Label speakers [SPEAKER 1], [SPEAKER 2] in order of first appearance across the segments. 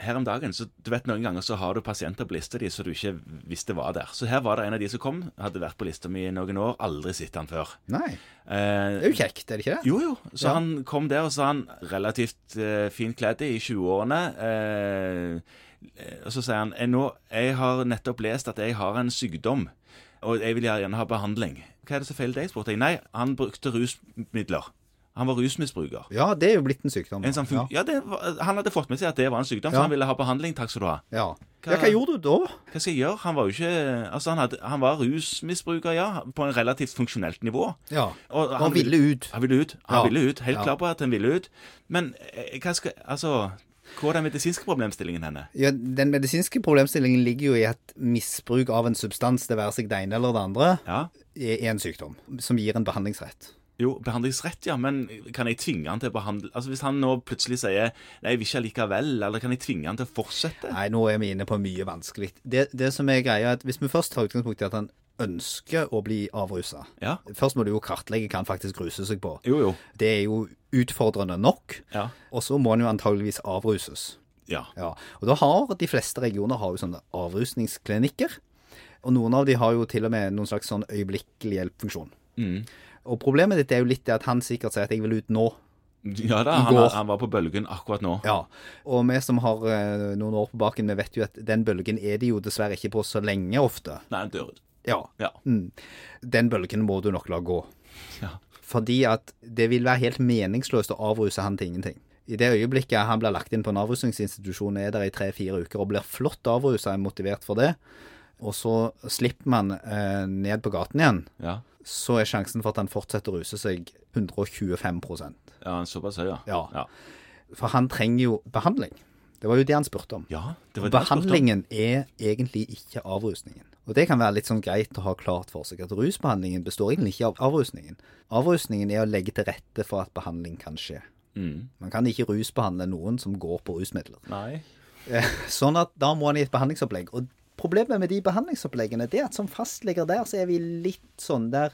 [SPEAKER 1] her om dagen så du vet Noen ganger så har du pasienter på lista di som du ikke visste var der. Så her var det en av de som kom, hadde vært på lista mi i noen år, aldri sett han før.
[SPEAKER 2] Nei.
[SPEAKER 1] Eh,
[SPEAKER 2] Det er jo kjekt, er det ikke det?
[SPEAKER 1] jo, jo. Så
[SPEAKER 2] Ja.
[SPEAKER 1] han kom der, og så han relativt eh, fint kledd i 20-årene. eh, eh, og så sier han «Eh, nå, jeg har nettopp lest at jeg har en sykdom, og jeg vil gjerne ha behandling. Hva er det som feiler deg, spurte jeg. Nei, han brukte rusmidler. Han var rusmisbruker.
[SPEAKER 2] Ja, det er jo blitt en sykdom.
[SPEAKER 1] En sånn fun
[SPEAKER 2] ja.
[SPEAKER 1] ja, det var, Han hadde fått med seg at det var en sykdom,
[SPEAKER 2] Ja.
[SPEAKER 1] så han ville ha behandling. Takk skal du ha.
[SPEAKER 2] Ja.
[SPEAKER 1] Hva-
[SPEAKER 2] ja, hva gjorde du da?
[SPEAKER 1] Hva skal jeg gjøre? Han var jo ikke Altså, han, hadde, han var rusmisbruker, ja, på en relativt funksjonelt nivå.
[SPEAKER 2] Ja.
[SPEAKER 1] Og
[SPEAKER 2] Han ville ut.
[SPEAKER 1] Han ville ut. Han
[SPEAKER 2] Ja.
[SPEAKER 1] ville ut. Helt
[SPEAKER 2] Ja.
[SPEAKER 1] klar på at han ville ut. Men eh, hva skal Altså, hvor er den medisinske problemstillingen henne?
[SPEAKER 2] Ja, den medisinske problemstillingen ligger jo i at misbruk av en substans, det være seg det ene eller det andre,
[SPEAKER 1] Ja.
[SPEAKER 2] er en sykdom som gir en behandlingsrett.
[SPEAKER 1] Jo, behandlingsrett, ja, men kan jeg tvinge han til å behandle Altså, Hvis han nå plutselig sier 'nei, jeg vil ikke likevel', eller kan jeg tvinge han til å fortsette?
[SPEAKER 2] Nei, nå er vi inne på mye vanskelig. Det, det som er greia, er at hvis vi først tar utgangspunkt i at han ønsker å bli avrusa
[SPEAKER 1] Ja.
[SPEAKER 2] Først må du jo kartlegge hva han faktisk ruser seg på.
[SPEAKER 1] Jo, jo.
[SPEAKER 2] Det er jo utfordrende nok.
[SPEAKER 1] Ja.
[SPEAKER 2] Og så må han jo antageligvis avruses.
[SPEAKER 1] Ja.
[SPEAKER 2] Ja, og da har de fleste regioner har jo sånne avrusningsklinikker. Og noen av de har jo til og med noen slags sånn øyeblikkelig hjelpfunksjon. Og problemet ditt er jo litt det at han sikkert sier at jeg vil ut nå.
[SPEAKER 1] Ja da,
[SPEAKER 2] I
[SPEAKER 1] han,
[SPEAKER 2] går.
[SPEAKER 1] han var på bølgen akkurat nå.
[SPEAKER 2] Ja, og vi som har eh, noen år på baken, vi vet jo at den bølgen er de jo dessverre ikke på så lenge ofte.
[SPEAKER 1] Nei, han dør ut.
[SPEAKER 2] Ja,
[SPEAKER 1] Ja.
[SPEAKER 2] Mm. Den bølgen må du nok la gå.
[SPEAKER 1] Ja.
[SPEAKER 2] Fordi at det vil være helt meningsløst å avruse han til ingenting. I det øyeblikket han blir lagt inn på en avrusningsinstitusjon, er der i tre-fire uker og blir flott avrusa, er motivert for det, og så slipper man eh, ned på gaten igjen,
[SPEAKER 1] ja.
[SPEAKER 2] så er sjansen for at han fortsetter å ruse seg 125
[SPEAKER 1] Ja, han er Såpass høy, ja.
[SPEAKER 2] Ja.
[SPEAKER 1] Ja,
[SPEAKER 2] For han trenger jo behandling. Det var jo det han spurte om.
[SPEAKER 1] ja det var det jeg spurte om.
[SPEAKER 2] Behandlingen er egentlig ikke avrusningen. Og det kan være litt sånn greit å ha klart for seg at rusbehandlingen består egentlig ikke av avrusningen. Avrusningen er å legge til rette for at behandling kan skje.
[SPEAKER 1] Mm.
[SPEAKER 2] Man kan ikke rusbehandle noen som går på rusmidler.
[SPEAKER 1] Nei.
[SPEAKER 2] Eh, Sånn at da må han i et behandlingsopplegg. Og problemet med de behandlingsoppleggene det er at som fastleger der, så er vi litt sånn der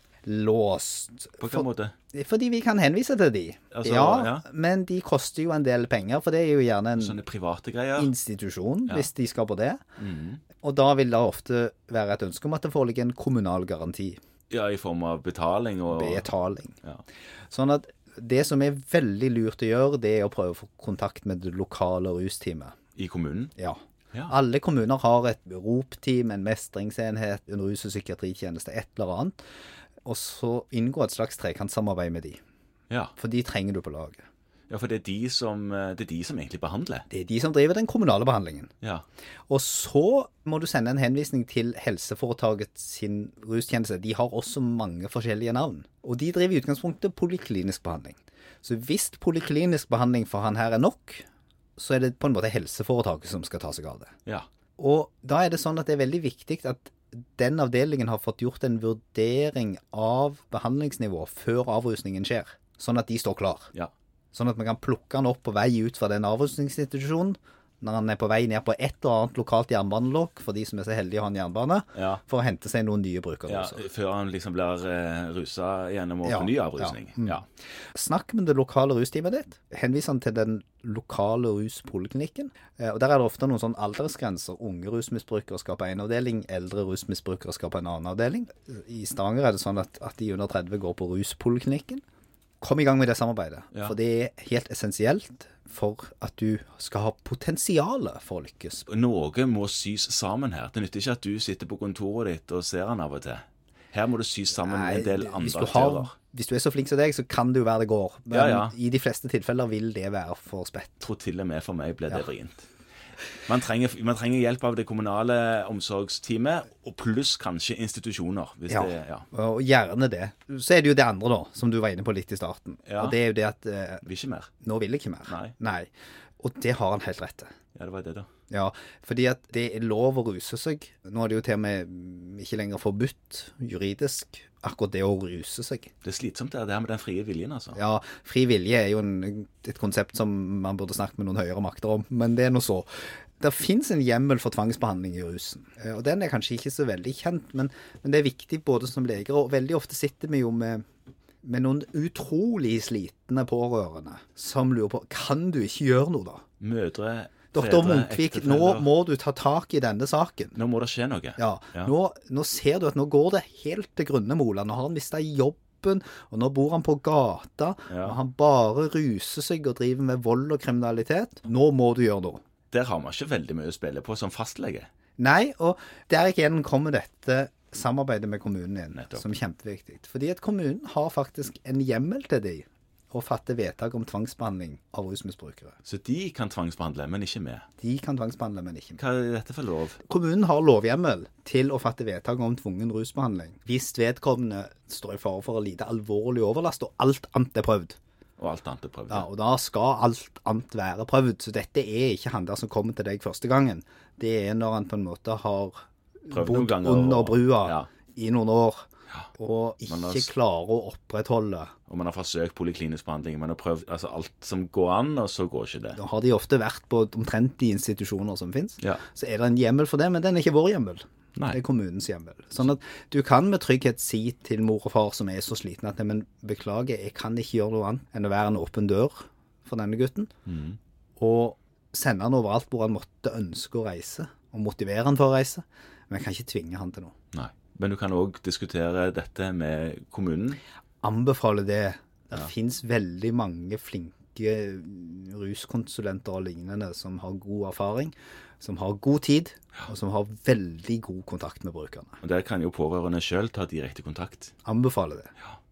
[SPEAKER 2] låst.
[SPEAKER 1] På hvilken
[SPEAKER 2] For-
[SPEAKER 1] måte?
[SPEAKER 2] Fordi vi kan henvise til de.
[SPEAKER 1] Altså,
[SPEAKER 2] ja,
[SPEAKER 1] ja.
[SPEAKER 2] men de koster jo en del penger, for det er jo gjerne en
[SPEAKER 1] Sånne private greier?
[SPEAKER 2] institusjon, hvis de skal på det.
[SPEAKER 1] Mm.
[SPEAKER 2] Og da vil det ofte være et ønske om at det foreligger en kommunal garanti,
[SPEAKER 1] Ja, i form av betaling og
[SPEAKER 2] betaling.
[SPEAKER 1] Ja.
[SPEAKER 2] Sånn at det som er veldig lurt å gjøre, det er å prøve å få kontakt med det lokale rusteamet.
[SPEAKER 1] I kommunen?
[SPEAKER 2] Ja.
[SPEAKER 1] Ja.
[SPEAKER 2] Alle kommuner har et ropteam, en mestringsenhet, en rus- og psykiatritjeneste, et eller annet. Og så inngå et slags trekantsamarbeid med de,
[SPEAKER 1] Ja.
[SPEAKER 2] for de trenger du på laget.
[SPEAKER 1] ja, for det er, de som, eh, det er de som egentlig behandler.
[SPEAKER 2] Det er de som driver den kommunale behandlingen.
[SPEAKER 1] Ja.
[SPEAKER 2] Og så må du sende en henvisning til helseforetaket sin rustjeneste. De har også mange forskjellige navn. Og de driver i utgangspunktet poliklinisk behandling. Så hvis poliklinisk behandling for han her er nok, så er det på en måte helseforetaket som skal ta seg av det.
[SPEAKER 1] ja.
[SPEAKER 2] Og da er det sånn at det er veldig viktig at den avdelingen har fått gjort en vurdering av behandlingsnivå før avrusningen skjer, sånn at de står klar.
[SPEAKER 1] Ja.
[SPEAKER 2] Sånn at vi kan plukke han opp på vei ut fra den avrusningsinstitusjonen, når han er på vei ned på et eller annet lokalt jernbanelokk, for de som er så heldige å ha en jernbane,
[SPEAKER 1] Ja.
[SPEAKER 2] for å hente seg noen nye
[SPEAKER 1] ja.
[SPEAKER 2] brukerdoser.
[SPEAKER 1] Før han liksom blir eh, rusa gjennom å
[SPEAKER 2] Altså. Ja,
[SPEAKER 1] få ny avrusning.
[SPEAKER 2] ja. Mm.
[SPEAKER 1] Ja.
[SPEAKER 2] Snakk med det lokale rusteamet ditt. Henvis han til den lokale ruspoliklinikken. Eh, Og der er det ofte noen sånn aldersgrenser. Unge rusmisbrukere skal på én avdeling, eldre rusmisbrukere skal på en annen avdeling. I Stavanger er det sånn at, at de under 30 går på ruspoliklinikken. Kom i gang med det samarbeidet.
[SPEAKER 1] Ja.
[SPEAKER 2] For det er helt essensielt for at du skal ha potensialet for å lykkes.
[SPEAKER 1] Noe må sys sammen her. Det nytter ikke at du sitter på kontoret ditt og ser han av og til. Her må du sys sammen med en del
[SPEAKER 2] Nei, hvis
[SPEAKER 1] andre
[SPEAKER 2] du har-
[SPEAKER 1] aktører.
[SPEAKER 2] Hvis du er så flink som deg, så kan det jo være det går. Men
[SPEAKER 1] Ja, ja.
[SPEAKER 2] i de fleste tilfeller vil det være for spett.
[SPEAKER 1] Tror til og med for meg ble det vrient. Man trenger, man trenger hjelp av det kommunale omsorgsteamet, og pluss kanskje institusjoner. Hvis
[SPEAKER 2] Ja.
[SPEAKER 1] Det, ja.
[SPEAKER 2] Og gjerne det. Så er det jo det andre, da, som du var inne på litt i starten.
[SPEAKER 1] Ja.
[SPEAKER 2] Og det er jo det at eh,
[SPEAKER 1] Vil ikke mer.
[SPEAKER 2] nå vil jeg ikke mer.
[SPEAKER 1] Nei.
[SPEAKER 2] Og det har han helt rett til.
[SPEAKER 1] Ja, det var det, da.
[SPEAKER 2] Ja, fordi at det er lov å ruse seg. Nå er det jo til og med mm, ikke lenger forbudt juridisk akkurat det å ruse seg.
[SPEAKER 1] Det er slitsomt, det her med den frie viljen, altså.
[SPEAKER 2] Ja, fri vilje er jo en, et konsept som man burde snakke med noen høyere makter om, men det er nå så. Det fins en hjemmel for tvangsbehandling i rusen, eh, og den er kanskje ikke så veldig kjent, men, men det er viktig både som leger, og veldig ofte sitter vi jo med med noen utrolig slitne pårørende som lurer på kan du ikke gjøre noe, da?
[SPEAKER 1] Mødre
[SPEAKER 2] Doktor
[SPEAKER 1] Fedre,
[SPEAKER 2] Munkvik, nå
[SPEAKER 1] ektefeller.
[SPEAKER 2] må du ta tak i denne saken.
[SPEAKER 1] Nå må det skje noe.
[SPEAKER 2] Ja,
[SPEAKER 1] Ja.
[SPEAKER 2] Nå, nå ser du at nå går det helt til grunne, Mola. Nå har han mista jobben, og nå bor han på gata.
[SPEAKER 1] Ja.
[SPEAKER 2] Og han bare ruser seg og driver med vold og kriminalitet. Nå må du gjøre noe.
[SPEAKER 1] Der har vi ikke veldig mye å spille på som fastlege.
[SPEAKER 2] Nei, og der igjen kommer dette samarbeidet med kommunen igjen,
[SPEAKER 1] Nettopp.
[SPEAKER 2] som er kjempeviktig. Fordi at kommunen har faktisk en hjemmel til de å fatte vedtak om tvangsbehandling av rusmisbrukere.
[SPEAKER 1] Så de kan tvangsbehandle, men ikke vi.
[SPEAKER 2] De kan tvangsbehandle, men ikke
[SPEAKER 1] Hva er dette for lov?
[SPEAKER 2] Kommunen har lovhjemmel til å fatte vedtak om tvungen rusbehandling hvis vedkommende står i fare for å lide alvorlig overlast og alt annet er prøvd.
[SPEAKER 1] Og alt annet er prøvd.
[SPEAKER 2] Ja, og da skal alt annet være prøvd. Så dette er ikke han der som kommer til deg første gangen. Det er når han på en måte har
[SPEAKER 1] Prøvd noen
[SPEAKER 2] bodd
[SPEAKER 1] ganger,
[SPEAKER 2] under
[SPEAKER 1] og-
[SPEAKER 2] brua
[SPEAKER 1] ja.
[SPEAKER 2] i noen år og
[SPEAKER 1] Men altså- da-
[SPEAKER 2] ikke klarer å opprettholde.
[SPEAKER 1] Og man har forsøkt poliklinisk behandling, man har prøvd altså, alt som går an, og så går ikke det.
[SPEAKER 2] Da har de ofte vært på omtrent de institusjoner som finnes.
[SPEAKER 1] Ja.
[SPEAKER 2] Så er det en hjemmel for det, men den er ikke vår hjemmel.
[SPEAKER 1] Nei.
[SPEAKER 2] Det er kommunens hjemmel. Sånn at du kan med trygghet si til mor og far som er så slitne at «Nei, men beklager, jeg kan ikke gjøre noe annet enn å være en åpen dør for denne gutten.
[SPEAKER 1] Mm.
[SPEAKER 2] Og sende han overalt hvor han måtte ønske å reise, og motivere han for å reise. Men jeg kan ikke tvinge han til noe.
[SPEAKER 1] Nei. Men du kan òg diskutere dette med kommunen.
[SPEAKER 2] Anbefale det. Det finnes veldig mange flinke ruskonsulenter og lignende som har god erfaring, som har god tid, og som har veldig god kontakt med brukerne.
[SPEAKER 1] Og der kan jo pårørende sjøl ta direkte kontakt.
[SPEAKER 2] Anbefale det.
[SPEAKER 1] Ja.